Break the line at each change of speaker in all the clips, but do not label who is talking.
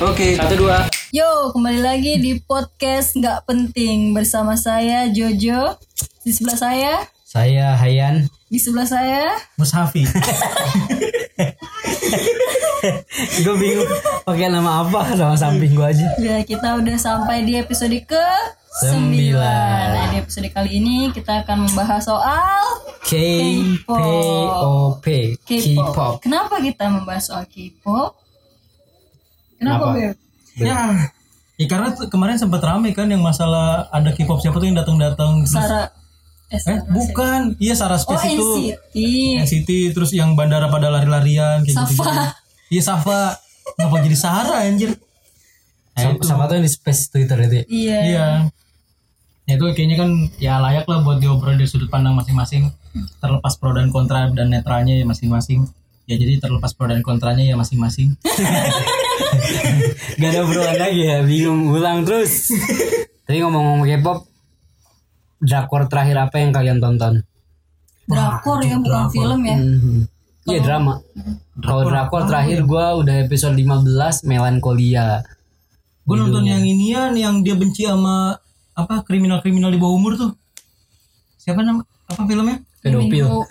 Oke, satu dua.
Yo, kembali lagi di podcast nggak penting bersama saya Jojo. Di sebelah saya,
Saya Hayan
di sebelah saya.
Mushafi. gue bingung pakai nama apa sama samping gue aja.
Ya, kita udah sampai di episode ke
Sembilan.
Nah, di episode kali ini kita akan membahas soal
K P O P
K-pop.
K-pop.
Kenapa kita membahas soal K-pop? Kenapa, Beb?
Ya. Ya, karena tuh kemarin sempat rame kan yang masalah ada K-pop siapa tuh yang datang-datang terus-
Sarah eh,
eh
Sarah.
bukan iya Sarah
Oh,
Space itu
NCT.
NCT terus yang bandara pada lari-larian kayak gitu.
Safa.
Iya Safa. Kenapa jadi Sarah anjir?
Sama, sama tuh yang di space Twitter itu. ya?
Iya.
Iya. Ya, itu kayaknya kan ya layak lah buat diobrol dari sudut pandang masing-masing terlepas pro dan kontra dan netralnya ya masing-masing. Ya jadi terlepas pro dan kontranya ya masing-masing.
Gak ada obrolan lagi ya, bingung ulang terus. Tapi ngomong-ngomong K-pop, drakor terakhir apa yang kalian tonton?
Drakor ya, bukan film ya.
Mhm. Iya drama. Kalau drakor terakhir gue udah episode 15 Melankolia.
Gue nonton yang inian yang dia benci sama apa kriminal-kriminal di bawah umur tuh. Siapa nama apa filmnya?
Pedofil.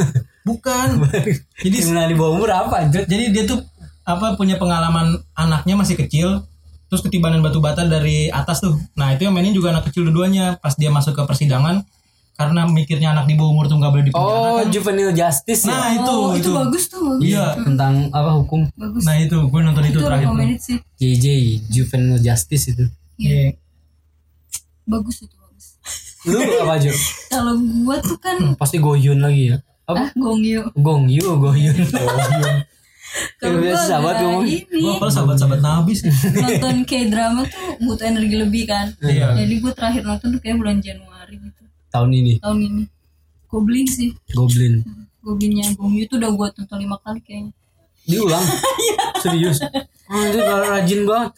Bukan.
Jadi sebenarnya di bawah umur apa? anjir?
jadi dia tuh apa punya pengalaman anaknya masih kecil terus ketibanan batu bata dari atas tuh. Nah, itu yang mainin juga anak kecil dua-duanya pas dia masuk ke persidangan karena mikirnya anak di bawah umur tuh nggak boleh dipenjara.
Oh, juvenile justice ya. Hmm.
Nah, itu
Oh, itu
itu.
bagus tuh. bagus.
Iya.
Tentang apa hukum
Bagus.
Nah, itu gue nonton itu,
itu
terakhir. tuh.
recommended sih.
JJ juvenile justice itu.
Iya.
Bagus itu bagus.
Lu apa aja?
Kalau gua tuh kan
Pasti Goyun lagi ya. Apa?
ah gongyo.
Gong Yu, Goyun.
Kalau
Iya, biasa
gua
banget
agak
ngomong.
ini
Gue apal sahabat-sahabat nabi sih.
Iya. nonton K-drama tuh butuh energi lebih kan.
Iya.
Jadi gua terakhir nonton tuh kayak bulan Januari gitu
Tahun ini
tahun ini. Goblin sih.
Goblin.
Goblinnya Gongyo tuh udah gua tonton lima kali kayaknya.
Diulang. Serius. Oh, itu rajin banget.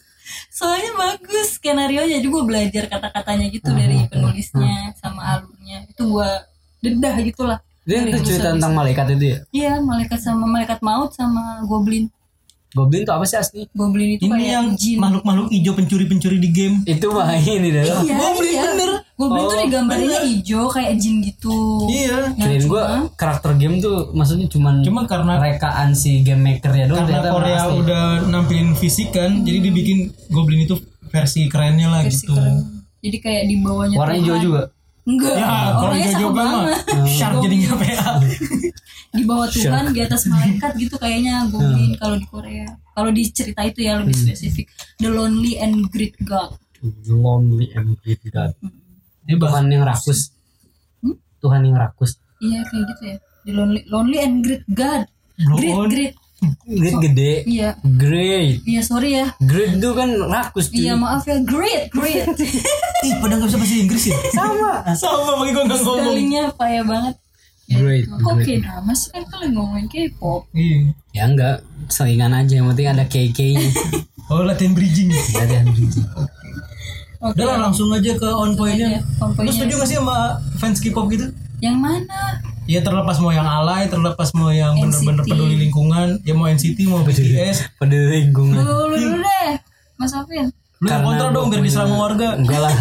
Soalnya bagus skenario jadi gua belajar kata-katanya gitu
Ah,
dari penulisnya sama alurnya. Itu gua dedah gitulah.
Dia itu cerita tentang malaikat itu ya.
Iya, malaikat sama malaikat maut sama goblin.
Goblin tuh apa sih asli?
Goblin itu
Ini
kayak
yang
ya? jin.
makhluk-makhluk hijau pencuri-pencuri di game.
Itu mah ini dah.
Iya,
Goblin
iya.
bener.
Goblin tuh digambarnya hijau kayak jin gitu.
Iya.
Yang
Kirain
cuma-
gua karakter game tuh maksudnya cuman
Cuma karena
rekaan si game makernya doang
karena
ternyata
Korea
asli.
udah nampilin fisik kan, jadi dibikin Goblin itu versi kerennya lah
versi
gitu.
keren. Jadi kayak di bawahnya
warnanya hijau
Tuhan.
juga.
Enggak.
Ya, kalau
orangnya
hijau
sama
juga mah
banget.
shark jadinya PA.
Di bawah Tuhan, di atas malaikat gitu kayaknya goblin kalau di Korea. Kalau di cerita itu ya lebih spesifik. The Lonely and Great God.
Lonely and greedy God.
Dia bahas
Tuhan yang rakus. Tuhan yang rakus.
Iya kayak gitu ya. The Lonely Lonely and Great God.
Blow
Great
on.
Great.
Great gede.
Iya.
Great.
Iya sorry ya.
Great tuh kan rakus cuy.
Iya maaf ya. Great, great.
Ih, padahal gak bisa bahasa Inggris ya?
Sama.
Sama, makanya gue gak ngomong.
Spellingnya payah banget.
Great.
Kok K-drama sih kan kalau ngomongin K-pop
Iya.
Ya enggak, selingan aja yang penting ada KK-nya.
Oh, latihan bridging.
Latihan bridging.
Udah lah, langsung aja ke on
ya
point-nya. Lu
pokoknya
setuju gak sih sama fans K-pop gitu?
yang mana
Ya terlepas mau yang alay, terlepas mau yang bener-bener peduli lingkungan, ya mau NCT, mau
Iya,
BTS.
Peduli lingkungan.
lu lu dulu deh Mas Alvin
Lu yang kontra dong biar diserang warga.
Enggak lah.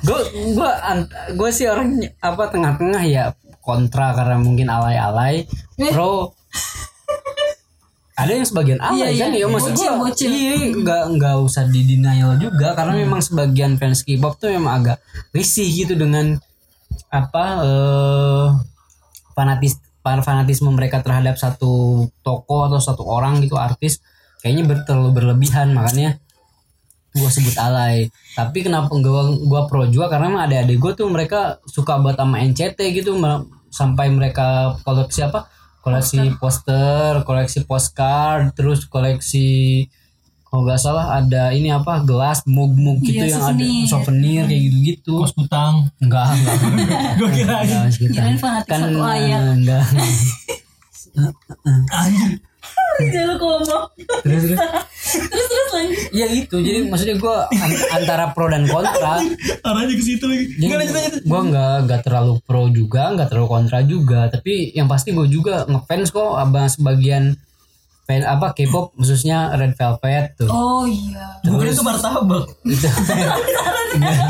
Gue gua an- gua sih orang apa tengah-tengah ya kontra karena mungkin alay-alay.
Eh.
Pro ada yang sebagian alay
Iya,
kan ya
iya.
maksud
Bocil,
gua.
bocil. Hmm.
Iya, enggak enggak usah di denial juga karena memang sebagian fans K-pop tuh memang agak risih gitu dengan apa eh fanatis para fanatisme mereka terhadap satu toko atau satu orang gitu artis kayaknya ber- terlalu berlebihan makanya gue sebut alay tapi kenapa gua gua pro juga karena emang ada adik gue tuh mereka suka buat sama NCT gitu me- sampai mereka koleksi apa koleksi poster koleksi postcard terus koleksi kalau nggak salah ada ini apa gelas mug-mug gitu
Iya,
yang ada
souvenir.
souvenir kayak gitu-gitu
Kos utang.
enggak enggak
Gue kirain.
Enggak, sekitar.
Kirain fanatik
kan
Iya, satu ayat.
eh, enggak
Anjir.
jangan ngomong
terus terus
terus terus lanjut
ya itu jadi maksudnya gue antara pro dan kontra
Arahnya ke situ lagi. Enggak lanjut lanjut.
gue nggak nggak terlalu pro juga nggak terlalu kontra juga tapi yang pasti gue juga ngefans kok abang sebagian fan apa K-pop khususnya Red Velvet tuh.
Oh iya.
Bukan itu martabak.
Itu.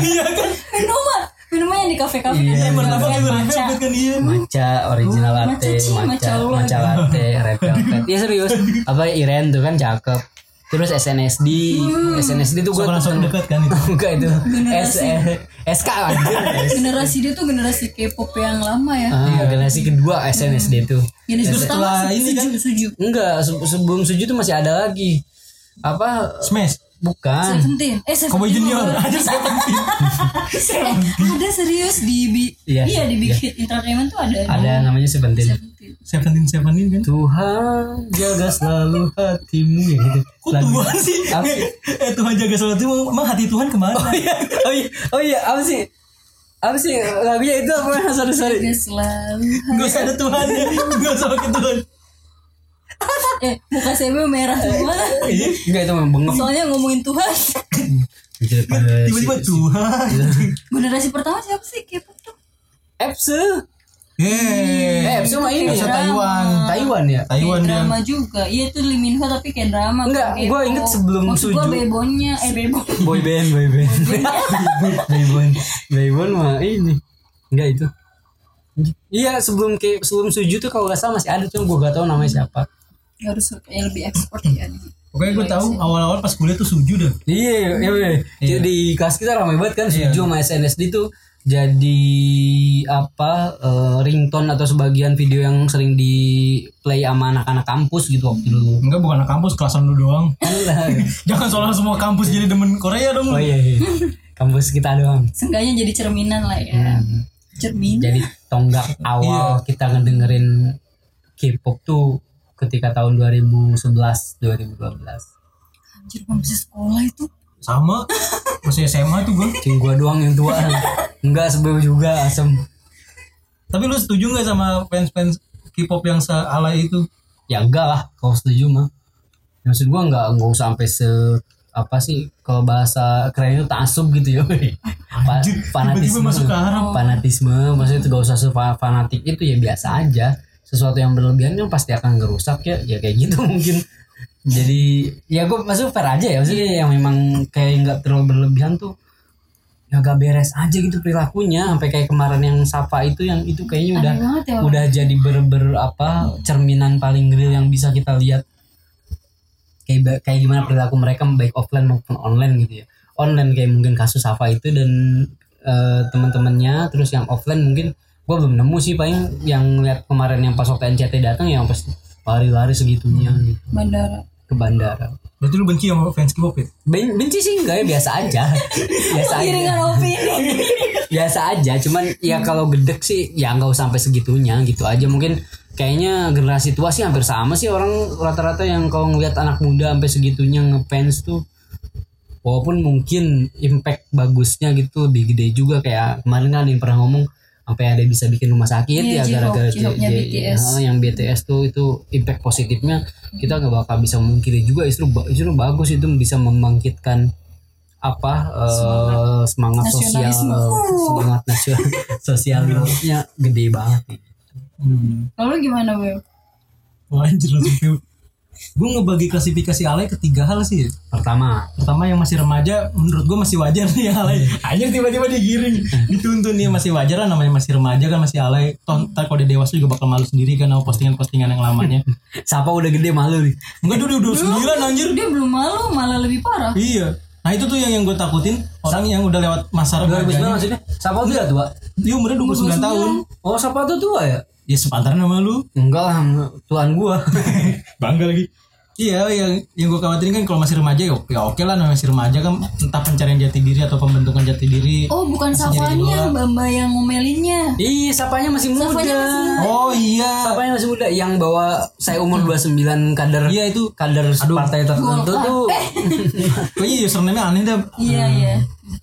Iya kan?
Minuman, minuman yang di kafe-kafe
Iya,
kan ada
Martabak
kafe
itu
maca.
martabak kan iya.
Maca original
Hmm? Oh,
latte,
matcha,
maca,
matcha
maca,
Allah.
latte, Red Velvet. Ya serius. Apa Iren tuh kan cakep. Terus SNSD, SNSD tuh gue
Soalnya langsung dekat kan itu.
Enggak itu S
Hmm. Generasi.
SK anjir.
Generasi dia tuh generasi K-pop yang lama ya.
Ah, generasi kedua SNSD
Hmm.
tuh.
Generasi pertama
Setelah ini
suju,
kan-
suju.
Enggak, se- sebelum Suju tuh masih ada lagi. Apa
Smash.
bukan?
Seventeen. Eh,
Ah. Cowboy
Seventeen
Junior.
baru.
Aja saya penting.
Eh, ada serius di bi-
Iya,
iya di Big
iya.
Hit Entertainment tuh ada.
Ada namanya Seventeen.
Seventeen.
Seventeen Seventeen kan?
Tuhan jaga selalu hatimu ya gitu.
Kok
Lagu-
Tuhan sih?
Apa?
Eh Tuhan jaga sholat itu emang hati Tuhan kemana?
Oh iya, oh iya, apa sih? Apa sih lagunya itu apa? Sorry, sorry.
Dia selalu.
Gak usah ada Tuhan ya. Gak usah pakai Tuhan.
Eh, muka saya merah semua.
Iya.
Enggak itu memang bengong. Gitu,
Soalnya ngomongin Tuhan.
Tiba-tiba Tuhan.
Generasi pertama siapa sih K-pop tuh?
Epsu.
Yeay.
Eh, Epsu mah ini.
Epsu Taiwan.
Taiwan ya?
Kayak
Taiwan dia.
drama juga. Iya itu Lee Min Ho tapi kayak drama.
Enggak,
kayak
gua
K-pop.
inget sebelum
Maksud gua
Suju.
bebonnya, eh bebon.
boy band boy band boy band boy band mah ini enggak itu iya sebelum ke sebelum suju tuh kalau nggak salah masih ada cuma gue gak tahu namanya siapa
Harus kayak lebih ekspor ya. nih.
Pokoknya gue tahu awal-awal pas kuliah tuh sujud dah.
iya iya iya
Iya.
di kelas kita ramai banget kan
Iya.
suju sama SNSD tuh jadi apa eh, ringtone atau sebagian video yang sering di play sama anak-anak kampus gitu waktu dulu Iya.
Enggak bukan anak kampus kelasan lu doang. Jangan soalnya semua kampus jadi demen Korea dong.
oh iya, iya. kampus kita doang
Seenggaknya jadi cerminan lah ya.
Hmm.
Cermin.
jadi tonggak awal kita ngedengerin K-pop tuh ketika tahun 2011 2012
Anjir gua masih sekolah itu.
Sama masih SMA tuh gue.
cing gua doang yang tua enggak sebelum juga asem
Tapi lu setuju nggak sama fans-fans K-pop yang seala itu?
ya enggak lah kalau setuju mah maksud gua enggak enggak usah sampai se apa sih kalau bahasa kerennya tuh taksub gitu ya weh. Fa-
Anjir, tiba-tiba masuk ke Arab.
fanatisme maksudnya itu gak usah sefa- fanatik itu ya biasa aja sesuatu yang berlebihan kan pasti akan ngerusak ya ya kayak gitu mungkin jadi ya gue maksudnya fair aja ya maksudnya yang memang kayak nggak terlalu berlebihan tuh ya gak beres aja gitu perilakunya sampai kayak kemarin yang Safa itu yang itu kayaknya udah
Aneh banget ya, Bang.
udah jadi ber, ber- apa cerminan paling real yang bisa kita lihat kayak ba- kayak gimana perilaku mereka baik offline maupun online gitu ya online kayak mungkin kasus Safa itu dan eh, teman-temannya terus yang offline mungkin gue belum nemu sih paling yang lihat kemarin yang pas waktu NCT datang yang pas lari-lari segitunya
Hmm.
gitu
Bandara.
ke bandara
Berarti lu benci sama fans K-pop ya?
Ben- benci sih enggak ya biasa aja biasa aja
Iringan opini.
biasa aja cuman ya kalau gedek sih ya nggak usah sampai segitunya gitu aja mungkin kayaknya generasi tua sih hampir sama sih orang rata-rata yang kalau ngelihat anak muda sampai segitunya ngefans tuh walaupun mungkin impact bagusnya gitu lebih gede juga kayak kemarin kan ada yang pernah ngomong sampai ada yang bisa bikin rumah sakit
Iya,
ya
J-Hope,
gara-gara J-
J-Hope-nya
J-
BTS.
ya, yang BTS tuh itu impact positifnya kita nggak bakal bisa memungkiri juga justru ba- justru bagus itu bisa membangkitkan apa eh, semangat, sosial
Nasionalisme.
semangat nasional sosialnya gede banget
Hmm.
Lalu gimana, Bel?
Wah anjir lu Gue ngebagi klasifikasi alay ke tiga hal sih ya.
pertama
Pertama yang masih remaja menurut gue masih wajar nih alay Anjir tiba-tiba digiring Dituntun nih masih wajar lah namanya masih remaja kan masih alay Toh, Ntar kalau dia dewasa juga bakal malu sendiri kan sama postingan-postingan yang lamanya
siapa udah gede malu nih
Enggak dulu udah sembilan anjir
Dia belum malu, malah lebih parah.
Iya Nah itu tuh yang yang gue takutin Orang yang udah lewat masa
2009
remajanya
maksudnya siapa udah tua
Dia umurnya 29 tahun
oh siapa tuh tua ya
Ya sepantaran sama lu
enggak lah tuan gua
bangga lagi iya yang yang gue khawatirin kan kalau masih remaja ya, ya oke lah namanya masih remaja kan entah pencarian jati diri atau pembentukan jati diri
Oh, bukan Safanya, Bamba yang ngomelinnya.
ih sapanya masih muda Hmm.
Safanya masih muda.
oh iya
Siapa yang masih muda yang bawa saya umur 29 kader
Iya, itu.
kader partai tertentu tuh
kayaknya username Oh, aneh dah
Iya,
Hmm.
iya.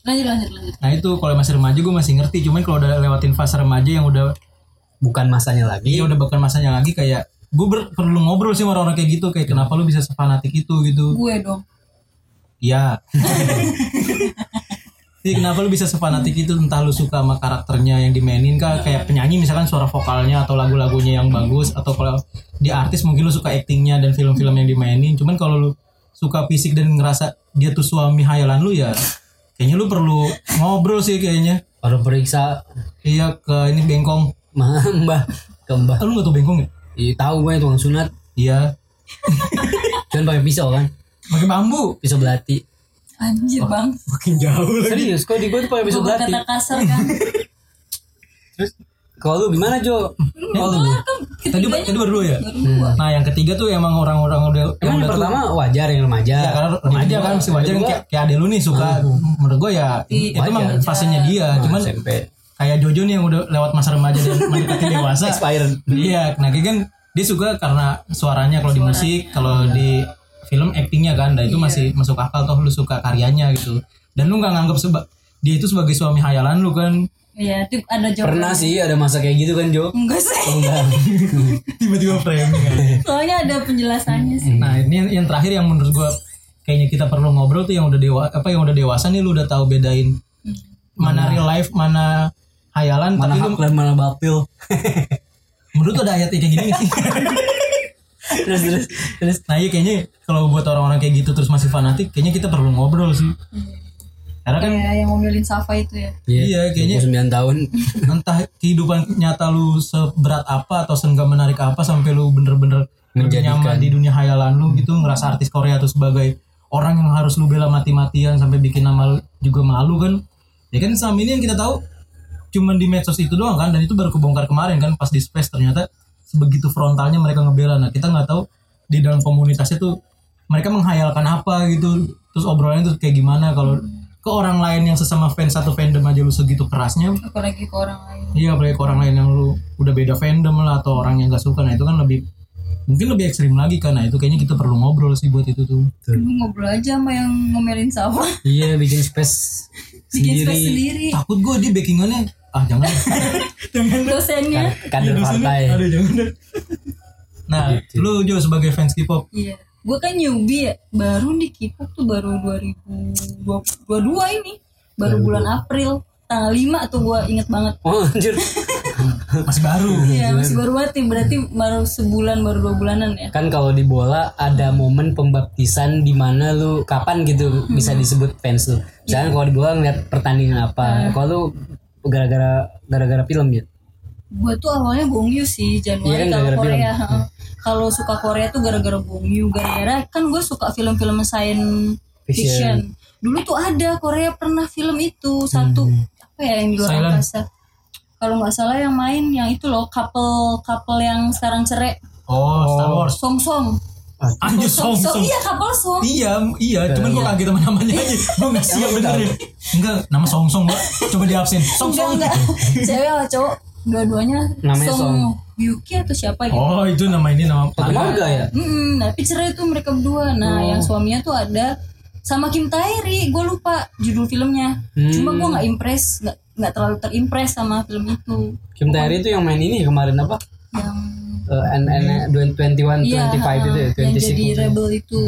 Lanjut, lanjut, lanjut.
nah itu kalau masih remaja gue masih ngerti cuman kalau udah lewatin fase remaja yang udah
bukan masanya lagi
ya udah bukan masanya lagi kayak gue perlu ngobrol sih sama orang-orang kayak gitu kayak kenapa lu bisa sefanatik itu gitu
Gue dong.
Iya. Jadi kenapa lu bisa sefanatik itu entah lu suka sama karakternya yang dimainin kah kayak penyanyi misalkan suara vokalnya atau lagu-lagunya yang bagus atau kalau di artis mungkin lu suka aktingnya dan film-film yang dimainin cuman kalau lu suka fisik dan ngerasa dia tuh suami hayalan lu ya kayaknya lu perlu ngobrol sih kayaknya
Baru periksa
iya ke ini bengkong
ma- Mbah ke Mbah.
ah, lu gak tau bengkong ya
Ih, tahu gue tukang sunat.
iya
Cuman pakai pisau kan.
pakai bambu
Pisau belati.
Anjir
Oh,
bang,
makin jauh
Serius, kok di gue tuh pakai
gue
pisau belati.
kata kasar kan.
Terus kalau lu gimana, Jo? Kalau lu.
Wah, kan
tadi
ketiganya
tadi baru dua ya
baru dua.
nah yang ketiga tuh emang orang-orang udah
Emang yang
udah
pertama wajar yang remaja.
Ya, karena remaja kan masih wajar
Kedua,
kayak, kayak ade lu nih suka menurut gue ya itu
Wajar.
emang fasenya dia cuman
SMP.
kayak Jojo nih yang udah lewat masa remaja dan mendekati dewasa
Expired.
iya nah kayak kan dia suka karena suaranya kalau di musik kalau di film actingnya kan dan itu masih masuk akal toh lu suka karyanya gitu dan lu nggak nganggap seba- dia itu sebagai suami hayalan lu kan
Iya, itu ada jawaban.
Pernah sih ada masa kayak gitu kan, Jo?
Enggak sih.
tiba-tiba frame kan
Soalnya ada penjelasannya sih.
Nah ini yang, yang terakhir yang menurut gua kayaknya kita perlu ngobrol tuh yang udah dewa apa yang udah dewasa nih lu udah tahu bedain mana real life mana hayalan
Mana
tapi lu,
hak dan mana batil.
menurut lu ada ayat kayak gini nggak sih
terus terus terus
nah iya kayaknya kalau buat orang-orang kayak gitu terus masih fanatik kayaknya kita perlu ngobrol sih karena kan
Ya, yang ngomelin Safa itu ya.
Hmm. Iya, kayaknya-
9 tahun.
entah kehidupan nyata lu seberat apa atau seenggak menarik apa sampai lu bener-bener
Menjadikan.
nyaman di dunia hayalan lu gitu ngerasa artis Korea itu sebagai orang yang harus lu bela mati-matian sampai bikin nama lu juga malu kan ya kan selama ini yang kita tahu cuman di medsos itu doang kan dan itu baru kebongkar kemarin kan pas di space ternyata sebegitu frontalnya mereka ngebela nah kita nggak tahu di dalam komunitasnya tuh mereka menghayalkan apa gitu terus obrolannya tuh kayak gimana kalau ke orang lain yang sesama fans satu fandom aja lu segitu kerasnya
Apalagi ke orang lain.
Iya apalagi ke orang lain yang lu udah beda fandom lah atau orang yang gak suka nah itu kan lebih mungkin lebih ekstrim lagi kan nah itu kayaknya kita perlu ngobrol sih buat itu tuh
Lu ngobrol aja sama yang ngomelin Safa.
Iya, bikin space
Bikin
sendiri.
space sendiri.
takut gue di backingannya ah jangan
Dosennya.
Kader partai.
aduh jangan nah lu Jo sebagai fans K-pop
Iya. Gue kan newbie ya. Baru di K-pop tuh baru 2022 ini. Baru bulan April. Tanggal 5 tuh gue inget banget.
Oh, anjir.
masih baru
Iya masih baru banget nih. Berarti baru sebulan baru dua bulanan ya.
Kan kalau di bola ada momen pembaptisan di mana lu kapan gitu bisa disebut fans lu. Misalnya kalau di bola ngeliat pertandingan apa. Kalau lu gara-gara gara-gara film ya.
Gue tuh awalnya Gongyu sih Januari
Iya kan,
kalau
gara-gara
Korea. heeh. Kalau suka Korea tuh gara-gara Gongyu. Gara-gara kan gue suka film-film science
Fiction.
fiction. Dulu tuh ada Korea pernah film itu satu apa ya yang di luar
Silent.
angkasa. Kalau nggak salah yang main yang itu loh couple couple yang sekarang cerai
oh Star Wars
Song Song.
anjir song song
Iya couple Song.
iya iya cuman gue kaget sama namanya aja gue gak siap bener ya enggak nama song song Mbak. coba di absen
Enggak
song song
enggak. Cewek sama cowok dua-duanya
Namanya Song.
Yuki atau siapa gitu.
oh itu nama ini nama
Keluarga ya?
Mm, tapi cerai tuh mereka
Oh.
berdua. Nah, yang suaminya tuh ada sama Kim Tae-ri. Gue lupa judul filmnya. Cuma
Hmm.
gue nggak impress, nggak nggak terlalu terimpress sama film itu.
Kim Tae-ri itu yang main ini kemarin apa?
Yang
Eh, N N 21
iya,
25 itu
uh-uh.
ya,
yang
26
jadi rebel itu.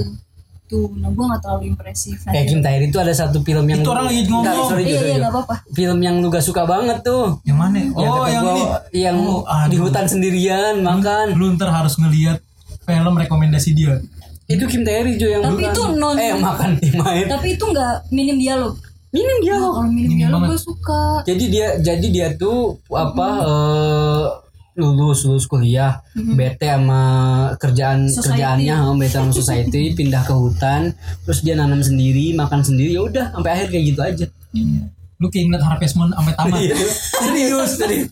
Tuh, nah gue nggak terlalu impresif.
Kayak Kim Tae-ri itu ada satu film yang
Itu orang lagi ngomong.
Bentar, Eh, sorry,
Iya,
sorry,
iya
sorry.
nggak apa-apa.
Film yang lu gak suka banget tuh.
yang mana oh
kata
yang
gua,
ini
yang
Oh,
di
aduh.
hutan sendirian makan.
lu ntar harus ngelihat film rekomendasi dia
Itu Kim Tae-ri Jo yang
Tapi
bukan.
itu non-
eh yang makan yang main.
Tapi itu nggak minim dialog.
Minim dia.
Nah, kalau minim, dialog
banget.
gue suka.
Jadi dia jadi dia tuh apa eh, lulus lulus kuliah bete sama kerjaan
Society.
kerjaannya eh, bete sama society pindah ke hutan terus dia nanam sendiri makan sendiri ya udah sampai akhir kayak gitu aja
lu kayak ngeliat Harvest Moon sampai tamat
Iya. serius serius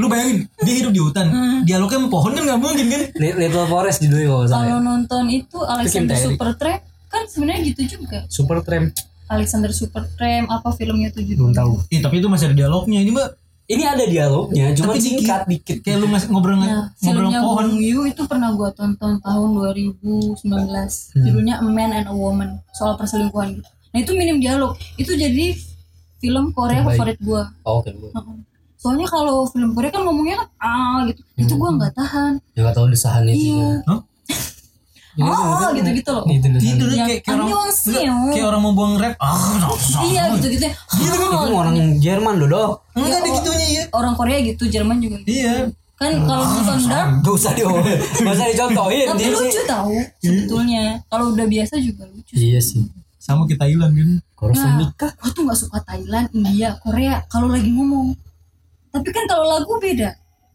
lu bayangin dia hidup di hutan
Hmm.
dialognya sama pohon kan nggak mungkin kan
Li- Little Forest judulnya kalau nggak salah ya.
Kalau nonton itu Alexander
Tae-ri.
Supertramp kan sebenarnya gitu juga.
Super Tramp
Alexander Supertramp apa filmnya tuh judulnya?
belum tahu
Ih, Iya, tapi itu masih ada dialognya ini mbak
ini ada dialognya cuma singkat dikit
kayak lu ngas- ngobrol
Nah,
ngobrol
filmnya
pohon
Gong Yoo itu pernah gua tonton tahun 2019.
Hmm.
Judulnya A Man and a Woman, soal perselingkuhan gitu. Nah, itu minim dialog. Itu jadi film Korea favorit gua.
oh, oke
Heeh. Soalnya kalau film Korea
Hmm.
kan ngomongnya kan ah gitu. Itu gua nggak tahan.
ya nggak tahu desahannya
Iya.
Hah?
oh, oh gitu-gitu loh
Gitu loh.
Gitu loh
Yang
kayak, kayak orang
annyeonghaseyo.
enggak, kayak orang mau buang rap. Ah, nah, nah.
iya gitu-gitu
Gitu kan itu orang Jerman dodo.
Enggak ada gitunya ya.
orang Korea gitu Jerman juga gitu.
Iya.
kan kalau nonton dark
Gak usah di gak usah dicontohin
tapi
dia sih.
lucu tahu
Hmm.
sebetulnya kalau udah biasa juga lucu
Iya sih.
Sama kita hilang kan.
Harus
Nah,
nikah.
gua tuh nggak suka Thailand India Korea kalau lagi ngomong tapi kan kalau lagu beda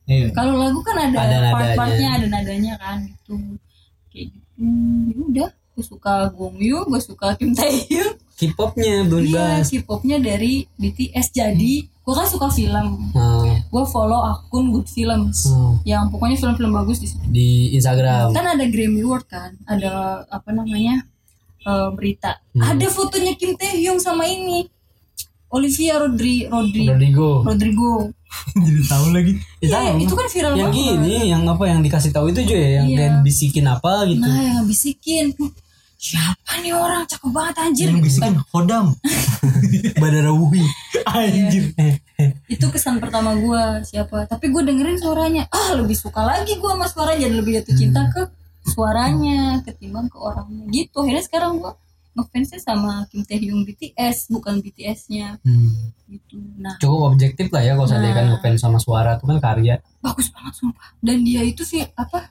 Iya.
kalau lagu kan ada,
Ada nadanya.
part-partnya ada nadanya kan gitu kayak gitu Hmm, ya udah gue suka Gongyu gue suka Kim Taehyung
K-popnya
dia
bebas.
K-popnya dari BTS jadi gue kan suka film
Nah,
gue follow akun Good Films
Hmm.
yang pokoknya film-film bagus di situ
di Instagram.
kan ada Grammy Award kan ada apa namanya eh, berita ada fotonya Kim Taehyung sama ini Olivia Rodri Rodri
Rodrigo.
Rodrigo
Jadi tahu lagi.
Iya, itu kan viral
yang
banget.
gini yang apa yang dikasih tahu itu juga ya yang
Iya.
kayak bisikin apa gitu
Nah, yang bisikin. "Huh, Siapa nih orang cakep banget anjir.
Yang gitu. bisikin hodam.
badarawi
Anjir.
Iya.
Eh.
Itu kesan pertama gua siapa. Tapi gua dengerin suaranya. Ah, lebih suka lagi gua sama suaranya jadi lebih jatuh cinta ke suaranya ketimbang ke orangnya gitu. Akhirnya sekarang gua ngefansnya sama Kim Taehyung BTS bukan BTS-nya
Hmm.
gitu. Nah,
cukup objektif lah ya kalau saya kan ngefans sama suara itu kan karya
bagus banget sumpah. Dan dia itu sih apa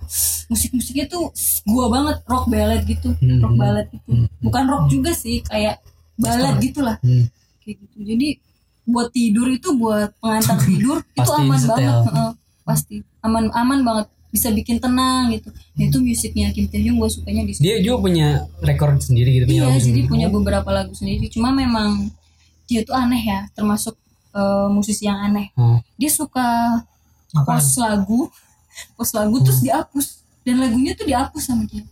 musik-musiknya tuh gua banget rock ballad gitu. Rock
Mhm.
ballad gitu. Bukan rock juga sih, kayak ballad gitulah.
Hmm.
kayak gitu jadi buat tidur itu buat pengantar tidur itu
Pasti Hmm.
aman
setel.
banget heeh. pasti aman aman banget bisa bikin tenang gitu Nah, itu musiknya Kim Taehyung gue sukanya di situ
dia juga punya rekor sendiri gitu punya
iya
lagu
jadi
sendiri.
punya beberapa lagu sendiri cuma memang dia tuh aneh ya termasuk eh, musisi yang aneh
Oh.
dia suka post lagu post lagu
Hmm.
terus dihapus dan lagunya tuh dihapus sama dia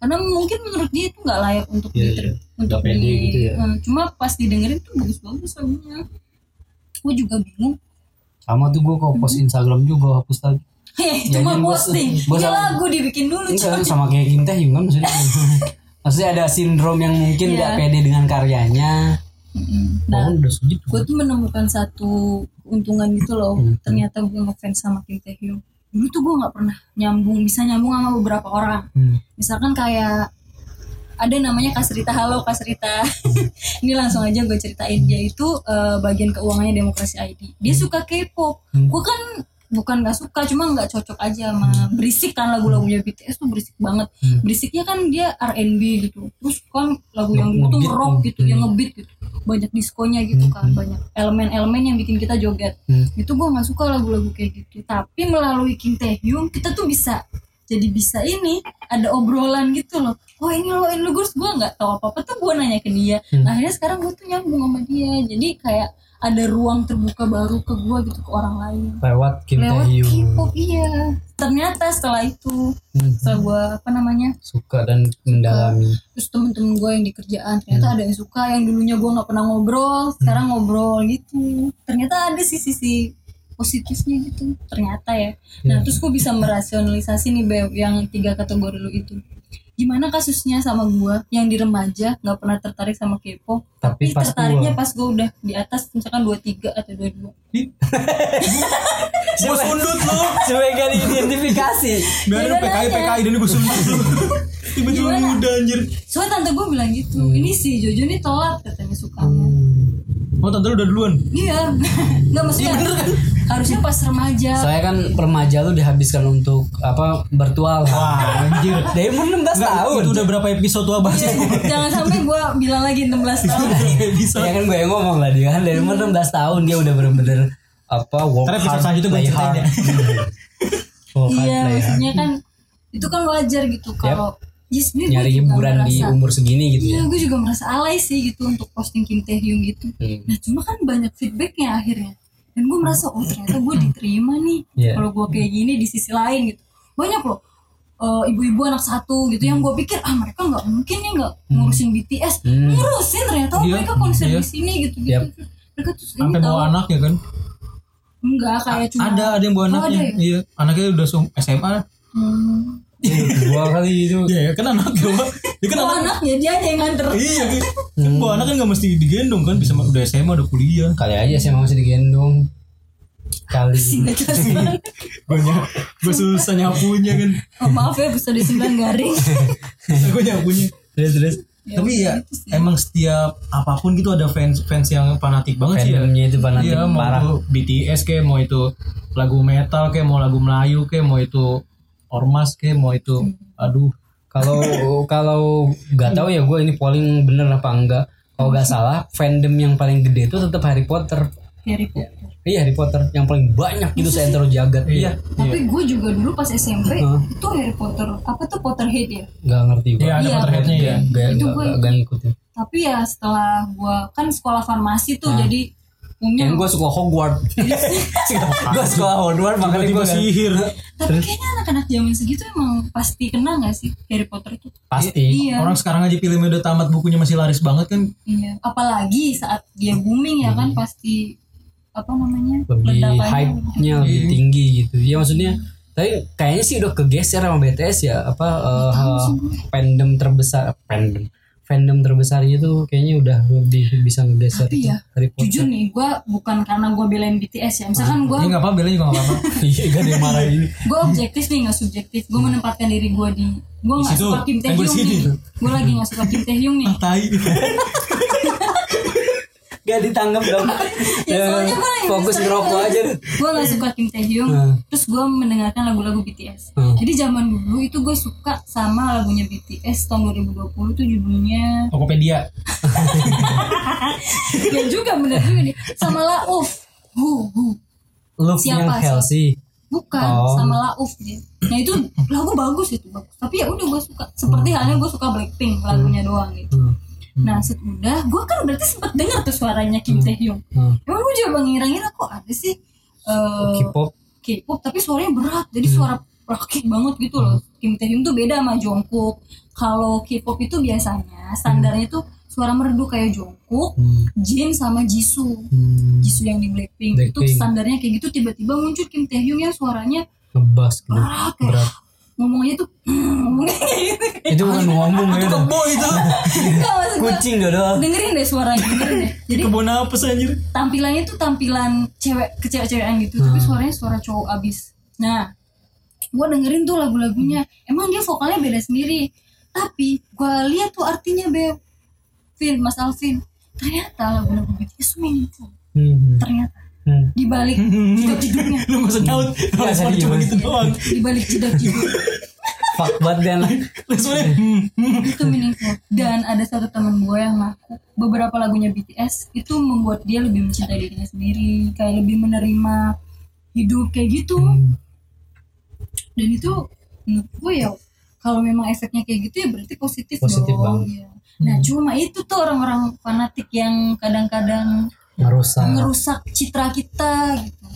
karena mungkin menurut dia itu nggak layak untuk
Iya,
diter-
iya.
untuk
Nggak pede
di-
gitu ya.
eh, cuma pas didengerin tuh bagus bagus lagunya gue juga bingung
sama tuh gue kok post
Hmm.
Instagram juga hapus lagi
Hei,
Ya,
cuma
jadi gua-
posting
gua
ini
sama-
lagu dibikin dulu
Enggak,
cuy
sama kayak Kim Taehyung kan maksudnya maksudnya ada sindrom yang mungkin
Iya.
nggak pede dengan karyanya
nah
oh, udah segitu
gue tuh menemukan satu keuntungan gitu loh
Hmm.
ternyata gue ngefans sama Kim Taehyung dulu tuh gue nggak pernah nyambung bisa nyambung sama beberapa orang
Hmm.
misalkan kayak ada namanya Kasrita halo Kasrita ini langsung aja gue ceritain dia itu eh, bagian keuangannya demokrasi ID dia suka K-pop gue kan bukan nggak suka cuma nggak cocok aja sama berisik kan lagu-lagunya BTS tuh berisik banget berisiknya kan dia R&B gitu terus kan lagu yang dulu tuh
Ngebeat,
rock
hmm.
gitu yang ngebeat gitu banyak diskonya gitu kan banyak elemen-elemen yang bikin kita joget
Hmm.
itu gue nggak suka lagu-lagu kayak gitu tapi melalui Kim Taehyung kita tuh bisa jadi bisa ini ada obrolan gitu loh oh ini lo ini lo gue nggak tahu apa apa tuh gue nanya ke dia nah akhirnya sekarang gue tuh nyambung sama dia jadi kayak ada ruang terbuka baru ke gue gitu ke orang lain
lewat Kim
lewat
Taehyung
K-pop iya ternyata setelah itu
Hmm.
setelah gue apa namanya
suka dan mendalami
terus temen-temen gue yang di kerjaan ternyata
Hmm.
ada yang suka yang dulunya gue nggak pernah ngobrol sekarang ngobrol gitu ternyata ada sih sisi positifnya gitu ternyata ya nah
Hmm.
terus gue bisa merasionalisasi nih Beb yang tiga kategori lu itu gimana kasusnya sama gue yang di remaja nggak pernah tertarik sama kepo
Tapi
tapi,
pas
tertariknya
tua.
pas gue udah di atas misalkan dua tiga atau dua dua
Gue sundut lu.
sebagai identifikasi
Gak ada
Gimana
PKI
ya?
PKI dan gue sundut lu. Tiba-tiba
Gimana?
muda anjir.
soalnya tante gue bilang gitu
Hmm.
ini si Jojo nih telat katanya sukanya
Oh tante lu udah duluan. kan?
iya nggak maksudnya harusnya pas remaja
Iya, saya kan remaja lu dihabiskan untuk apa bertual
Wah anjir.
dari umur 16 tahun
Itu udah berapa episode tuh bahas
Iya.
itu?
Jangan sampai gue bilang lagi 16 tahun
Episode.
ya kan gue yang ngomong lah dia kan dari umur 16 tahun dia udah bener-bener apa work
Ntar episode
hard
selanjutnya gue
play
ceritain
hard
ya.
work hard
Iya
play hard
maksudnya kan Itu kan wajar gitu Kalau Yes, ini gua
nyari
juga
hiburan di
merasa-
umur segini gitu
Iya
ya
gue juga merasa alay sih gitu Untuk posting Kim Taehyung gitu
Hmm.
Nah cuma kan banyak feedbacknya akhirnya Dan gue merasa oh ternyata gue diterima nih
Iya.
Kalau gue kayak gini di sisi lain gitu Banyak loh eh, ibu-ibu anak satu gitu yang gue pikir ah mereka nggak mungkin ya nggak ngurusin BTS
Hmm.
ngurusin ternyata oh,
Iya,
mereka konser
iya.
di sini gitu gitu
Yap.
mereka tuh ini
Sampai
tahu
bawa anak ya kan?
enggak kayak cuma
Ada ada yang bawa
Oh,
anaknya.
ada ya?
Iya. Anaknya udah sum- SMA.
Hmm.
dua kali itu
Iya ya kan anaknya. Pak. Dia kan
Oh,
anak.
anaknya dia aja yang nganter.
Iya kan.
Hmm.
Kan bawa anak kan nggak mesti digendong kan bisa udah SMA udah kuliah.
kali aja sih emang masih digendong kali
Singkat jelas banget.
gue gue susah nyapunya kan
Oh, maaf ya episode 9 garing.
gue nyapunya
terus terus
Ya,
tapi ya
gitu sih.
emang setiap apapun gitu ada fans fans yang fanatik banget sih ya
fandomnya itu fanatik
Iya, mau
parah
itu BTS kayak mau itu lagu metal kayak mau lagu Melayu kayak mau itu ormas kayak mau
Hmm.
itu aduh
kalau kalau nggak tahu ya gue ini polling bener apa enggak kalau nggak salah fandom yang paling gede itu tetap Harry Potter
Harry Potter.
iya Harry Potter yang paling banyak gitu seantero jagat iya
Tapi gue juga dulu pas SMP
Hah?
itu Harry Potter apa tuh Potterhead ya.
nggak ngerti gue
Iya ada
Iya,
Potterhead-nya ya
nggak
Itu
nggak-
gue-
nggak- nggak ngikutin
Tapi ya setelah gue kan sekolah farmasi tuh jadi
yang
umumnya.
gue suka Hogwarts gue suka Hogwarts makanya
tiba-tiba kan? Nah.
gue
sihir
Tapi kayaknya anak-anak zaman segitu emang pasti kena gak sih Harry Potter itu?
pasti
Iya.
orang sekarang aja filmnya udah tamat bukunya masih laris banget kan
Iya. Apalagi saat dia booming ya kan pasti apa namanya?
Iya. lebih
ledakannya
hype-nya lebih tinggi gitu ya maksudnya tapi kayaknya sih udah kegeser sama BTS ya apa
Iya,
eh, fandom terbesar fandom fandom terbesarnya tuh kayaknya udah lebih bisa ngegeser
Tapi ya,
Harry
Jujur nih, gue bukan karena gue belain BTS ya. Misalkan gue
ini nggak apa-apa belinya juga nggak apa-apa
Iya, gak ada yang marah ini.
gue objektif nih nggak subjektif gue
Hmm.
menempatkan diri gue di gue
Di
nggak
situ,
suka Kim
Eh,
kan
Tae
gua di
Hyung
sini.
nih gue lagi nggak suka Kim Tae Hyung nih
tai
Gak ditanggap dong.
Ya, soalnya gua lagi
fokus
ngeselin.
ngerokok aja deh.
gue nggak suka Kim Tae Hyung
Hmm.
terus gue mendengarkan lagu-lagu BTS
Hmm.
jadi zaman dulu itu gue suka sama lagunya BTS tahun 2020 tuh judulnya
Tokopedia
ya juga bener juga nih sama Lauf Hu Hu
Love
Siapa
yang
sih?
healthy.
bukan
Oh.
sama Lauf dia nah itu lagu bagus itu bagus tapi ya udah gue suka seperti halnya gue suka Blackpink lagunya doang gitu
Hmm,
Nah sudah, gue kan berarti sempat dengar tuh suaranya Kim Taehyung.
hmm.
Emang gue juga ngira-ngira kok ada sih eh,
K-pop. Hmm.
K-pop tapi suaranya berat, jadi suara rakit banget gitu loh. Kim Taehyung tuh beda sama Jungkook. Kalau K-pop itu biasanya standarnya tuh suara merdu kayak Jungkook,
Hmm,
Jin sama Jisoo.
hmm.
Jisoo yang di Blackpink, itu
Blackpink.
standarnya kayak gitu tiba-tiba muncul Kim Taehyung yang suaranya
Ngebas gitu.
berat kayak
Berat.
ngomongnya tuh ngomongnya kayak gitu.
Itu bukan ngomong ya. udah.
kebo itu
Enggak maksud gua,
Iya. Kucing gak ada.
Dengerin deh suaranya, dengerin deh. Jadi
kebo nafas anjir
tampilannya tuh tampilan cewek kecewek-cewekan gitu tapi suaranya suara cowok abis nah gue dengerin tuh lagu-lagunya emang dia vokalnya beda sendiri tapi gue lihat tuh artinya Beb Vin Mas Alvin ternyata lagu-lagu BTS tuh meaningful
Hmm,
ternyata
hmm.
di balik jeduk-jeduknya
lu nggak usah nyaut responnya cuma
serius.
gitu doang
di balik jeduk-jeduk
Fuck banget kan. dia anak.
responnya hmm, hmm.
itu meaningful dan ada satu teman gue yang ngaku beberapa lagunya BTS itu membuat dia lebih mencintai dirinya sendiri kayak lebih menerima hidup kayak gitu
Hmm.
dan itu menurut gue ya kalau memang efeknya kayak gitu ya berarti positif,
Positif
dong
banget.
Iya. nah
Hmm.
cuma itu tuh orang-orang fanatik yang kadang-kadang
Ah.
Ngerusak.
ngerusak citra kita gitu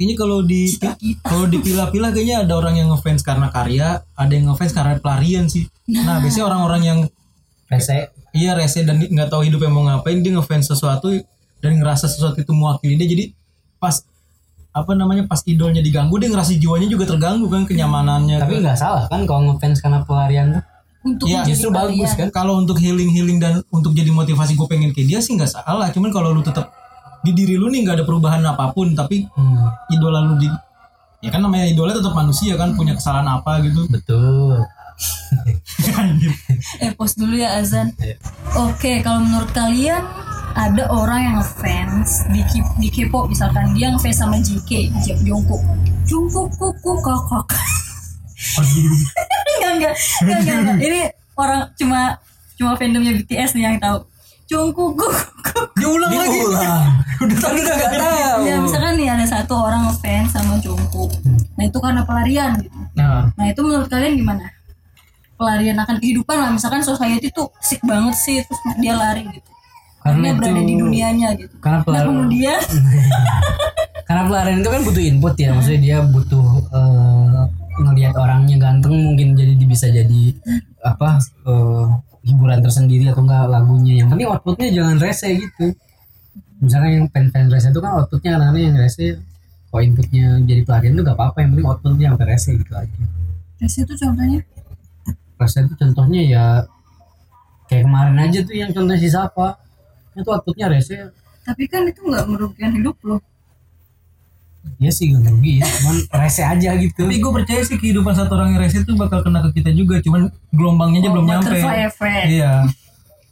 kayaknya kalau di
citra kita
kalau dipilah-pilah kayaknya ada orang yang ngefans karena karya ada yang ngefans karena pelarian sih nah biasanya orang-orang yang
Rese.
iya rese dan nggak tahu hidupnya mau ngapain dia ngefans sesuatu dan ngerasa sesuatu itu mewakili dia jadi pas apa namanya pas idolnya diganggu dia ngerasa jiwanya juga terganggu kan kenyamanannya
Tapi
Ke-
nggak salah kan kalau ngefans karena pelarian tuh.
untuk
Iya,
menjadi
justru
kalian.
bagus kan kalau untuk healing healing dan untuk jadi motivasi gue pengen kayak dia sih nggak salah cuman kalau lu tetap di diri lu nih nggak ada perubahan apapun tapi
Hmm,
idola lu di ya kan namanya idola tetap manusia kan punya kesalahan apa gitu
betul.
Anjir.
eh pause dulu ya Azan
Iya.
oke kalau menurut kalian ada orang yang ngefans di K- di K-pop misalkan dia ngefans sama JK J- Jungkook Jungkook kuku kakak enggak enggak enggak enggak, enggak. ini orang cuma cuma fandomnya BTS nih yang tahu Jungkook kuku
diulang lagi
Udah tadi udah gak tahu.
ya misalkan nih ada satu orang ngefans sama Jungkook nah itu karena pelarian gitu
Nah,
Nah itu menurut kalian gimana? Pelarian akan kehidupan lah Misalkan society tuh sick banget sih Terus dia lari gitu
Karena
Dia
itu-
berada di dunianya gitu
karena
Nah
pelar-
kemudian
karena pelarian itu kan butuh input ya maksudnya dia butuh eh, ngelihat orangnya ganteng mungkin jadi di- bisa jadi apa eh, hiburan tersendiri atau enggak lagunya yang penting outputnya jangan rese gitu misalnya yang pen pen rese itu kan outputnya kadang-kadang yang rese kalau inputnya jadi pelarian itu gak apa-apa yang penting outputnya sampai rese gitu aja
Terus itu contohnya
rese itu contohnya ya kayak kemarin aja tuh yang contoh si Safa itu outputnya rese
Tapi kan itu nggak merugikan hidup loh
Iya sih gak rugi ya. Cuman rese aja gitu.
Tapi gue percaya sih kehidupan satu orang yang rese itu bakal kena ke kita juga, cuman gelombangnya aja belum nyampe.
butterfly effect.
Iya.
Oh,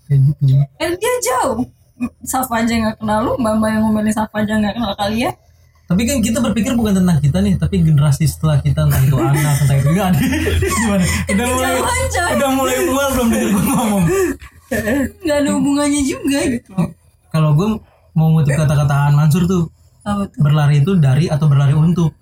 Kayak gitu.
Eh, dia jauh. Safa aja nggak kenal lu, Mbak Mbak yang ngomelin Safa aja nggak kenal kalian.
Tapi kan kita berpikir bukan tentang kita nih, tapi generasi setelah kita entah itu anak, entah itu enggak. Gimana? Udah mulai
Kejauhan coy,
udah mulai mual belum denger gue ngomong.
nggak ada hubungannya juga gitu.
Kalau gue mau ngutip kata-kataan Mansur tuh,
Apa tuh?
berlari itu dari atau berlari untuk.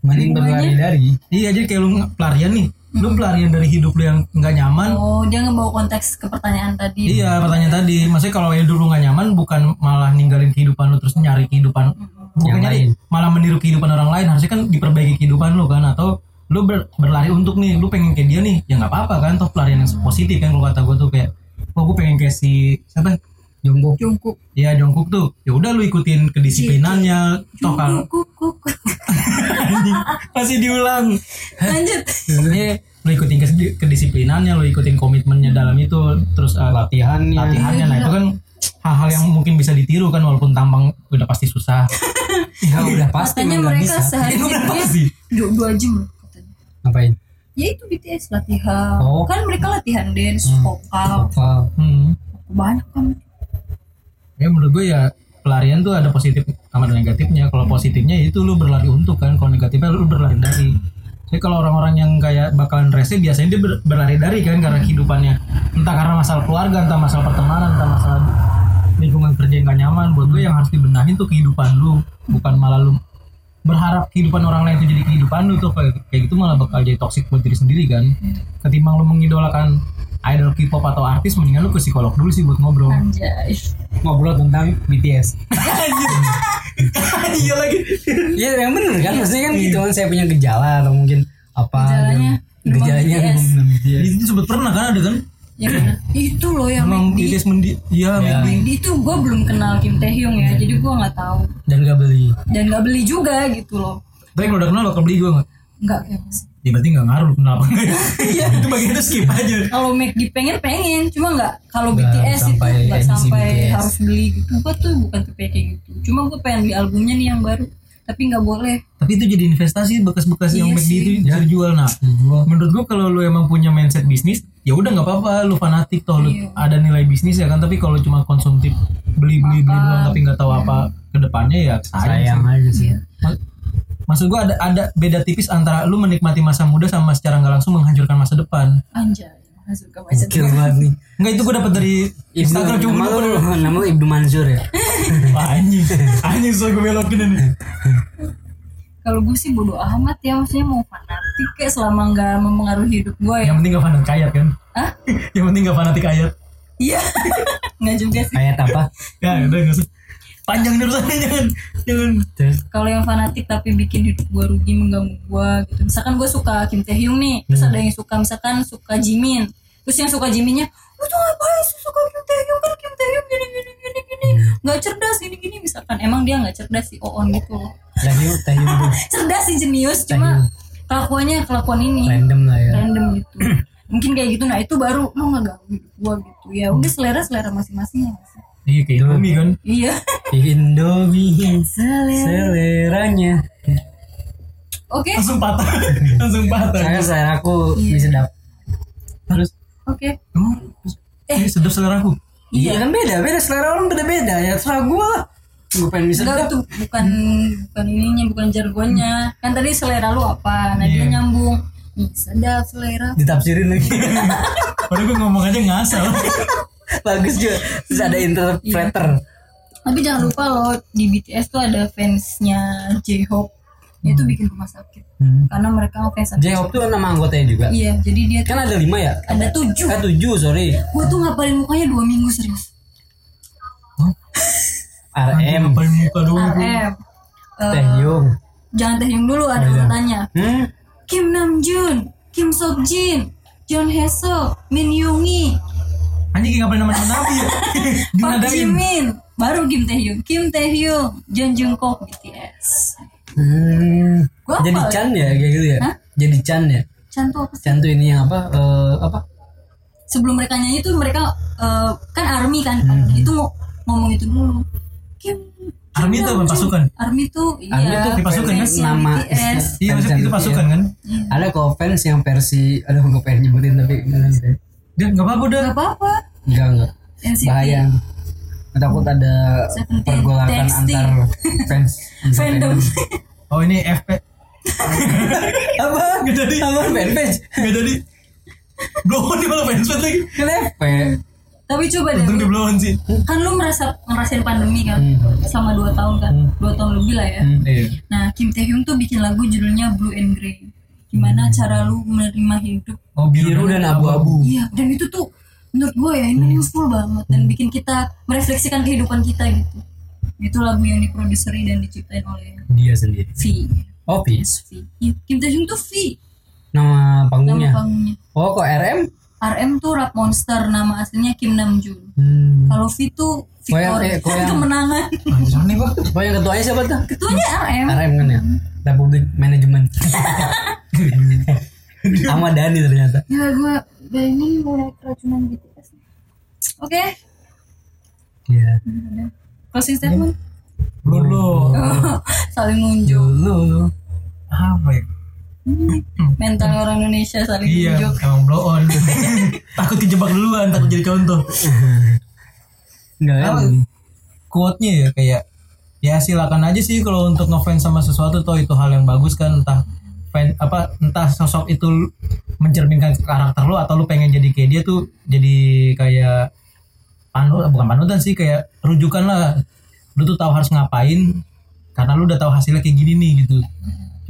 Mending berlari dari.
Iya aja kayak lu nge- pelarian nih. Lu pelarian dari hidup lu yang nggak nyaman.
Oh, dia ngebawa konteks ke pertanyaan tadi.
Iya pertanyaan tadi. Maksudnya kalau hidup lu nggak nyaman bukan malah ninggalin kehidupan lu terus nyari kehidupan. Bukan
Yang
nyari, malah meniru kehidupan orang lain. Harusnya kan diperbaiki kehidupan lu kan atau lu ber- berlari untuk nih, lu pengen kayak dia nih, ya nggak apa-apa kan, toh pelarian yang positif kan kalau kata gue tuh kayak, oh gue pengen kayak si siapa?
Jongkok.
Jungkook,
Ya Jongkook tuh, ya udah lu ikutin kedisiplinannya, toh kalau
kuk kuk.
masih diulang.
Lanjut.
Jadi lu ikutin kes- kedisiplinannya, lu ikutin komitmennya dalam itu, terus uh,
Latihannya.
latihannya nah itu kan hal-hal yang mungkin bisa ditiru kan walaupun tampang udah pasti susah
Ya udah pasti
Katanya
memang nggak
mereka
bisa. Iya,
sehari
Itu udah
dia
pasti.
du- dua jam loh, katanya.
Ngapain?
Ya itu BTS latihan.
Oh. Hmm.
Kan mereka latihan dance, vokal,
Apa?
hmm.
banyak kan.
ya menurut gue ya pelarian tuh ada positif sama ada negatifnya kalau positifnya ya itu lu berlari untuk kan kalau negatifnya lu berlari dari jadi kalau orang-orang yang kayak bakalan rese biasanya dia ber- berlari dari kan karena kehidupannya entah karena masalah keluarga entah masalah pertemanan entah masalah lingkungan kerja yang gak nyaman buat gue yang harus dibenahin tuh kehidupan lu bukan malah lu berharap kehidupan orang lain itu jadi kehidupan lu tuh kayak, kayak gitu malah bakal jadi toksik buat diri sendiri kan ketimbang lu mengidolakan idol K-pop atau artis mendingan lu ke psikolog dulu sih buat ngobrol
Anjay.
Ngobrol tentang BTS.
iya lagi
Iya yang bener kan maksudnya kan gitu kan saya punya gejala atau mungkin apa
Gejalanya
gitu. gejalanya
demam BTS.
demam BTS.
itu sempat pernah kan ada kan
Ya benar.
Hmm.
Itu loh yang
emang
Mandy.
BTS mendi ya,
Mandy itu gue belum kenal Kim Taehyung ya, jadi gue nggak tahu
dan gak beli
dan nggak beli juga gitu loh.
tapi kalau udah kenal bakal beli gue nggak
Nggak kayak
ya berarti nggak ngaruh lu kenal apa enggak ya Iya, itu bagian itu skip aja
kalau McD pengen pengen cuma nggak kalau
Nggak
BTS itu
sampai
nggak
edisi
sampai
BTS.
harus beli gitu gue tuh bukan tipe kayak gitu cuma gue pengen beli albumnya nih yang baru tapi nggak boleh
tapi itu jadi investasi bekas-bekas yang
Iya
McD
sih.
itu bisa dijual nah menurut gua kalau lu emang punya mindset bisnis ya udah nggak apa-apa lu fanatik toh lu
Iya.
ada nilai bisnis ya kan tapi kalau cuma konsumtif beli beli beli doang tapi nggak tahu apa kedepannya ya sayang
Iya.
sayang aja sih
Ma- maksud gua ada ada beda tipis antara lu menikmati masa muda sama secara nggak langsung menghancurkan masa depan
anjay masuk ke mindset
kill banget nih
Enggak itu gue dapat dari
Ibnu,
Instagram cuma
nama
gue
lu, nama lu Ibnu Mansur ya
Wah anjing Anjing so gue belokin ini
kalau gue sih bodo amat ya maksudnya mau fanatik kayak selama nggak mempengaruhi hidup gue ya
Eh, Yang penting gak fanatik ayat kan
Hah?
Yang penting gak fanatik ayat
iya nggak juga sih
ayat apa
Ya udah gak usah Panjang nih urusannya jangan Jangan
terus
kalau yang fanatik tapi bikin hidup gue rugi mengganggu gue gitu misalkan gue suka Kim Taehyung nih terus ada yang suka misalkan suka Jimin terus yang suka Jiminnya lu tuh ngapain sih suka Kim Taehyung kan Kim Taehyung gini gini gini gini nggak cerdas gini gini misalkan emang dia nggak cerdas sih oon gitu loh
lagi tahu tuh
cerdas sih jenius cuma kelakuannya kelakuan ini
random lah ya
random gitu mungkin kayak gitu nah itu baru lu nggak ganggu hidup gue gitu ya udah selera selera masing-masing ya nggak sih?
Iya kayak Indomie kan
iya
Indomie
selera
seleranya
oke
Langsung patah Langsung patah
karena selera aku
Iya.
bisa dap terus
oke
Emang Ini sedap selera aku
iya kan beda beda selera orang beda beda ya selera gue lah gue pengen bisa
Enggak itu bukan bukan ininya bukan jargonnya kan tadi selera lu apa nah dia nyambung nih sedap selera
ditafsirin lagi
Padahal gue ngomong aja ngasal
bagus juga terus
Iya.
ada interpreter
tapi jangan lupa loh di BTS tuh ada fansnya J-Hope itu bikin rumah sakit karena mereka ngefans sama-
J-Hope tuh nama anggotanya juga
iya jadi dia tuh
kan ada lima ya
ada tujuh
eh tujuh sorry
gue tuh ngapalin mukanya dua minggu serius
RM
Ngapain muka doang
RM Eh,
Taehyung
jangan teh yang dulu
Oh,
ada urutannya
hmm?
Kim Namjoon Kim Seokjin John Haeseo Min Yoongi
Anjing kayak ngapain nama temen nabi ya
Park
Dinadain
Jimin baru Kim Taehyung Kim Taehyung Jung Jungkook BTS
hmm.
Gua
jadi
apa?
Chan ya kayak gitu ya
Hah?
jadi Chan ya
Chan tuh apa sih?
Chan tuh ini yang apa eh, apa
sebelum mereka
Hmm.
nyanyi tuh mereka eh, kan army kan itu ngo- ngomong itu dulu Kim
Army itu apa pasukan?
Army tuh iya.
Army tuh
Di pasukan kan?
fans yang
Nama
BTS.
Iya maksudnya itu pasukan kan?
Iya.
Ada kok fans yang versi aduh gue pengen nyebutin tapi enggak deh.
Dia nggak apa-apa udah.
Gak apa-apa.
Enggak enggak.
NCT.
Bahaya. Takut ada
Seventeen,
pergolakan
texting.
antar fans.
Fandom.
Oh ini FP.
apa?
Nggak
Gitu
jadi.
Apa fanpage?
Nggak jadi. Blown nih malah fans banget lagi.
Kenapa?
Tapi coba deh.
Untung
lu-
di blown sih.
Kan lu merasa ngerasain pandemi kan?
Hmm.
Sama 2 tahun kan? 2 tahun lebih lah ya.
Hmm.
Iya.
Nah, Kim Tae Hyun tuh bikin lagu judulnya Blue and Grey. Gimana
Hmm.
cara lu menerima hidup?
Oh
Biru dan abu-abu.
Iya, dan itu tuh menurut gue ya ini
Hmm.
useful banget dan bikin kita merefleksikan kehidupan kita gitu. Itu lagu yang diproduseri dan diciptain oleh
Dia sendiri.
V.
Oh, Fizz.
V. Ya, Kim Tae Hyun tuh V
Nama
nama
panggungnya.
panggungnya.
Oh, kok RM?
RM tuh rap monster nama aslinya Kim Namjoon.
Hmm.
Kalau V tuh Victor
Koyang, eh, koyang.
kemenangan.
Anjir nih gua.
Oh, yang ketuanya siapa tuh?
Ketuanya RM.
RM kan ya? Republik Manajemen. Sama Dani ternyata.
Ya gue gue ini mulai keracunan BTS. Oke,
Iya.
closing statement.
Dulu.
saling nunjuk.
Dulu.
Apa ya?
Mental orang Indonesia saling
Iya,
nunjuk.
emang blow on. takut kejebak duluan, takut jadi contoh.
Enggak ya?
Apa? Quote-nya ya kayak ya silakan aja sih kalau untuk ngefans sama sesuatu toh itu hal yang bagus kan entah fan apa entah sosok itu lu- mencerminkan karakter lu atau lu pengen jadi kayak dia tuh jadi kayak panu bukan panutan sih kayak rujukan lah lu tuh tahu harus ngapain karena lu udah tahu hasilnya kayak gini nih gitu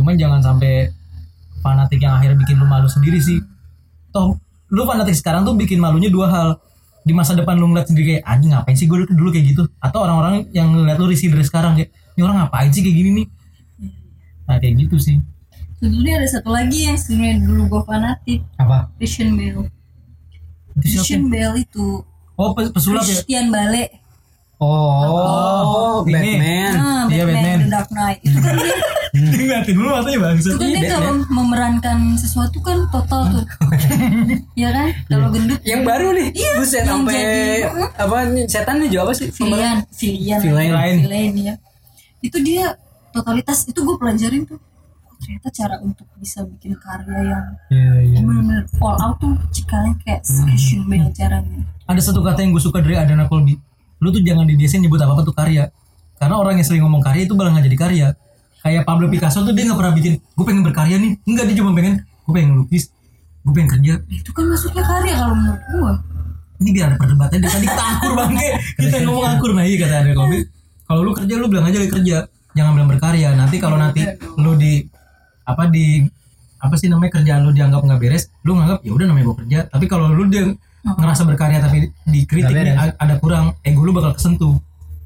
cuman jangan sampai fanatik yang akhirnya bikin lu malu sendiri sih toh lu fanatik sekarang tuh bikin malunya dua hal di masa depan lu ngeliat sendiri kayak anjing ngapain sih gue dulu, dulu kayak gitu atau orang-orang yang ngeliat lu risih dari sekarang kayak ini orang ngapain sih kayak gini nih nah kayak gitu sih
Sebetulnya ada satu lagi yang sebenarnya dulu gue fanatik.
Apa?
Christian Bale.
itu siapa
Christian Bale itu
oh pe- pesulap ya
Christian Bale.
Oh,
ini.
Batman.
Ah,
Iya,
Batman,
Batman.
The Dark Knight. Itu kan dia,
ngeliatin lu matanya bangsa
itu kan dia kalau memerankan sesuatu kan total tuh. Iya kan? Kalau gendut
Yang baru nih.
Iya,
Buset
yang
sampai
jadi.
apa setan nih jawab apa sih?
Villian, Villian,
Villain.
Villain.
Villain, ya. Itu dia totalitas itu gue pelajarin tuh. Oh, ternyata cara untuk bisa bikin karya yang
Iya, iya. Hmm.
benar-benar all out tuh cikalnya kayak ya. Christian Bale caranya.
ada satu kata yang gue suka dari Adana Colby lu tuh jangan dibiasain nyebut apa apa tuh karya karena orang yang sering ngomong karya itu malah nggak jadi karya kayak Pablo Picasso tuh dia nggak pernah bikin gue pengen berkarya nih enggak dia cuma pengen gue pengen lukis gue pengen kerja
Itu kan maksudnya karya kalau menurut gue.
ini biar ada perdebatan dari tadi kita akur bangke kita yang ngomong akur nah iya kata Adrian Kobi kalau lu kerja lu bilang aja lu kerja jangan bilang berkarya nanti kalau nanti lu di apa di apa sih namanya kerjaan lu dianggap nggak beres lu nganggap ya udah namanya gua kerja tapi kalau lu dia ngerasa berkarya tapi dikritik
Nggak
nih, a- ada kurang ego lu bakal kesentuh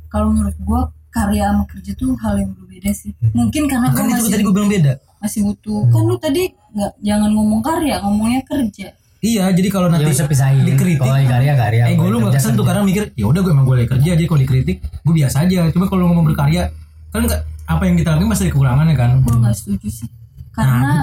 Kalau menurut gue karya sama kerja tuh hal yang berbeda sih.
Hmm.
Mungkin karena gue
kan itu
masih
tadi gua bilang beda
masih butuh kan lu tadi nggak jangan ngomong karya ngomongnya kerja
iya jadi kalau
Ya
nanti
usah pisahin.
dikritik
Kalau yang Oh, iya, karya karya.
ego lu nggak kesentuh karena mikir ya udah gue emang gue lagi kerja jadi kalau dikritik gue biasa aja cuma kalau ngomong berkarya kan nggak- apa yang kita lakukan masih ada kekurangannya kan
gue nggak setuju sih
Nah,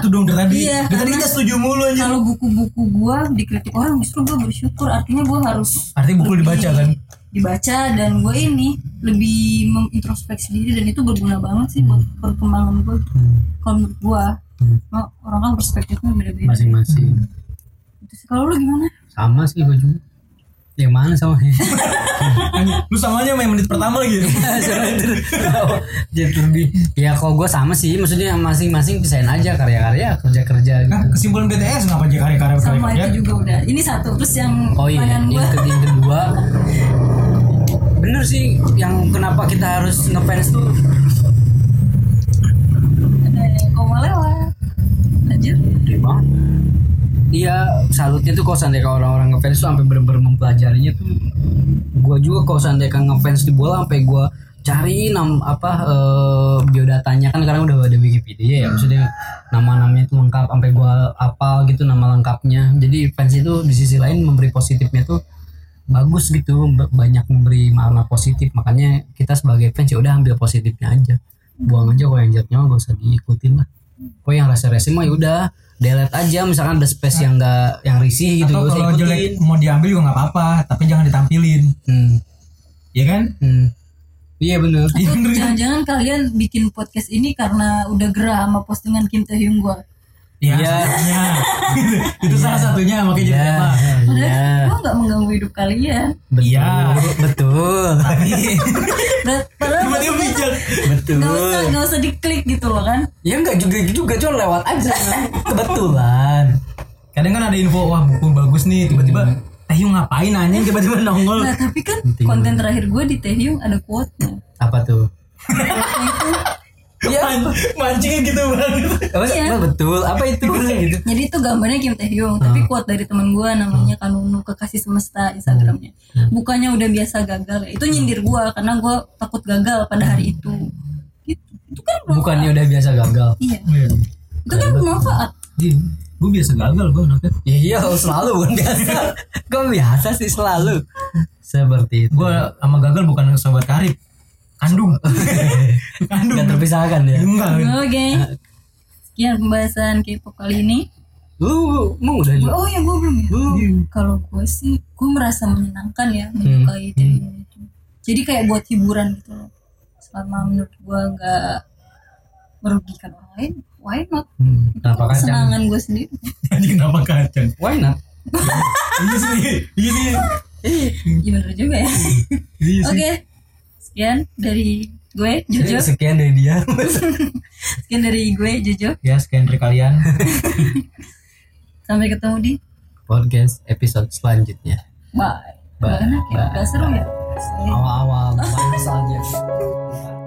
karena
itu dong dari tadi.
iya,
dari tadi
karena-
kita setuju mulu aja.
kalau buku-buku gua dikritik orang justru gua bersyukur artinya gua harus
Artinya buku dibaca kan.
dibaca dan gue ini lebih mengintrospeksi diri dan itu berguna banget sih buat perkembangan gue kalau menurut gue orang kan perspektifnya beda-beda
masing-masing.
Itu sih. kalau lu gimana
Sama sih gue juga. Yang mana sama?
Anjing, Lu sama aja main menit pertama lagi.
Jadi lebih. Ya kalau gue sama sih, maksudnya masing-masing pisahin aja karya-karya, kerja-kerja gitu.
Nah, kesimpulan BTS ngapa aja karya-karya
sama
karya
itu juga udah ini satu terus yang
Oh iya,
pertanyaan
yang,
gua
ke- yang kedua Bener sih, yang kenapa kita harus ngefans tuh
ada yang koma lewat lanjut
gede banget Iya, salutnya tuh kalau seandainya orang-orang ngefans tuh sampai bener-bener mempelajarinya tuh Gua juga kalau seandainya kan ngefans di bola sampai gua cari nam apa eh, biodatanya kan karena udah ada Wikipedia ya maksudnya nama-namanya tuh lengkap sampai gua apal gitu nama lengkapnya jadi fans itu di sisi lain memberi positifnya tuh bagus gitu b- banyak memberi makna positif makanya kita sebagai fans ya udah ambil positifnya aja buang aja kalau yang jahatnya mah gak usah diikutin lah kok yang rasa rese mah ya udah delete aja misalkan ada space yang enggak yang risih gitu
Atau
gak usah
kalau
ikutin
jelek mau diambil juga nggak apa-apa, tapi jangan ditampilin.
hmm.
Ya Iya kan?
Hmm. Iya bener.
Atau jangan-jangan kalian bikin podcast ini karena udah gerah sama postingan Kim Tae Hyung gua.
Iya.
Iya.
satunya. itu salah satunya makanya jadi
Iya.
apa?
Padahal gua nggak mengganggu hidup kalian.
Iya.
Betul, Betul.
Dan- Padahal
Tiba-tiba bijak.
Betul.
nggak usah nggak usah diklik gitu loh kan.
Ya enggak juga juga cuma lewat aja. Kebetulan.
Kadang kan ada info wah buku bagus nih tiba-tiba eh yuk ngapain anjing tiba-tiba nongol.
Nah tapi kan konten terakhir gua di Tae Hyung ada quote-nya.
Apa tuh?
Iya. Mancingnya gitu banget.
Apa,
Iya.
apa betul? Apa itu gitu?
Jadi itu gambarnya Kim Tae Hyung, tapi quote dari teman gua namanya Kanunu Kekasih Semesta Instagramnya. Bukannya udah biasa gagal, ya. itu nyindir gua karena gua takut gagal pada hari itu. Gitu. Itu kan
Bukannya udah biasa gagal?
iya, itu kan bermanfaat.
Iya. Gue biasa gagal gue anaknya.
Ya iya selalu bukan biasa. Kok biasa sih selalu. Seperti itu.
Gue sama gagal bukan sobat karib. Kandung. Kandung.
Gak terpisahkan ya.
Enggak.
Oke. Sekian pembahasan K-pop kali ini.
Lu mau udah
Gua- Oh ya gue belum ya. Kalau gue sih, gue merasa menyenangkan ya menyukai TV itu. Jadi kayak buat hiburan gitu loh. Selama menurut gue nggak merugikan orang lain, why not?
Hmm,
Itu
kenapa kacang?
kesenangan gue sendiri.
Anjing kenapa kacang?
Why not?
Iya sih. Iya sih.
Iya bener juga ya.
Iya
Oke, sekian dari gue Jojo.
Sekian dari dia.
Sekian dari gue Jojo.
Ya sekian dari kalian.
Sampai ketemu di
Podcast episode selanjutnya.
bye.
Bye.
Gak enak ya, gak seru ya. Seru.
Awal-awal. Bye saja.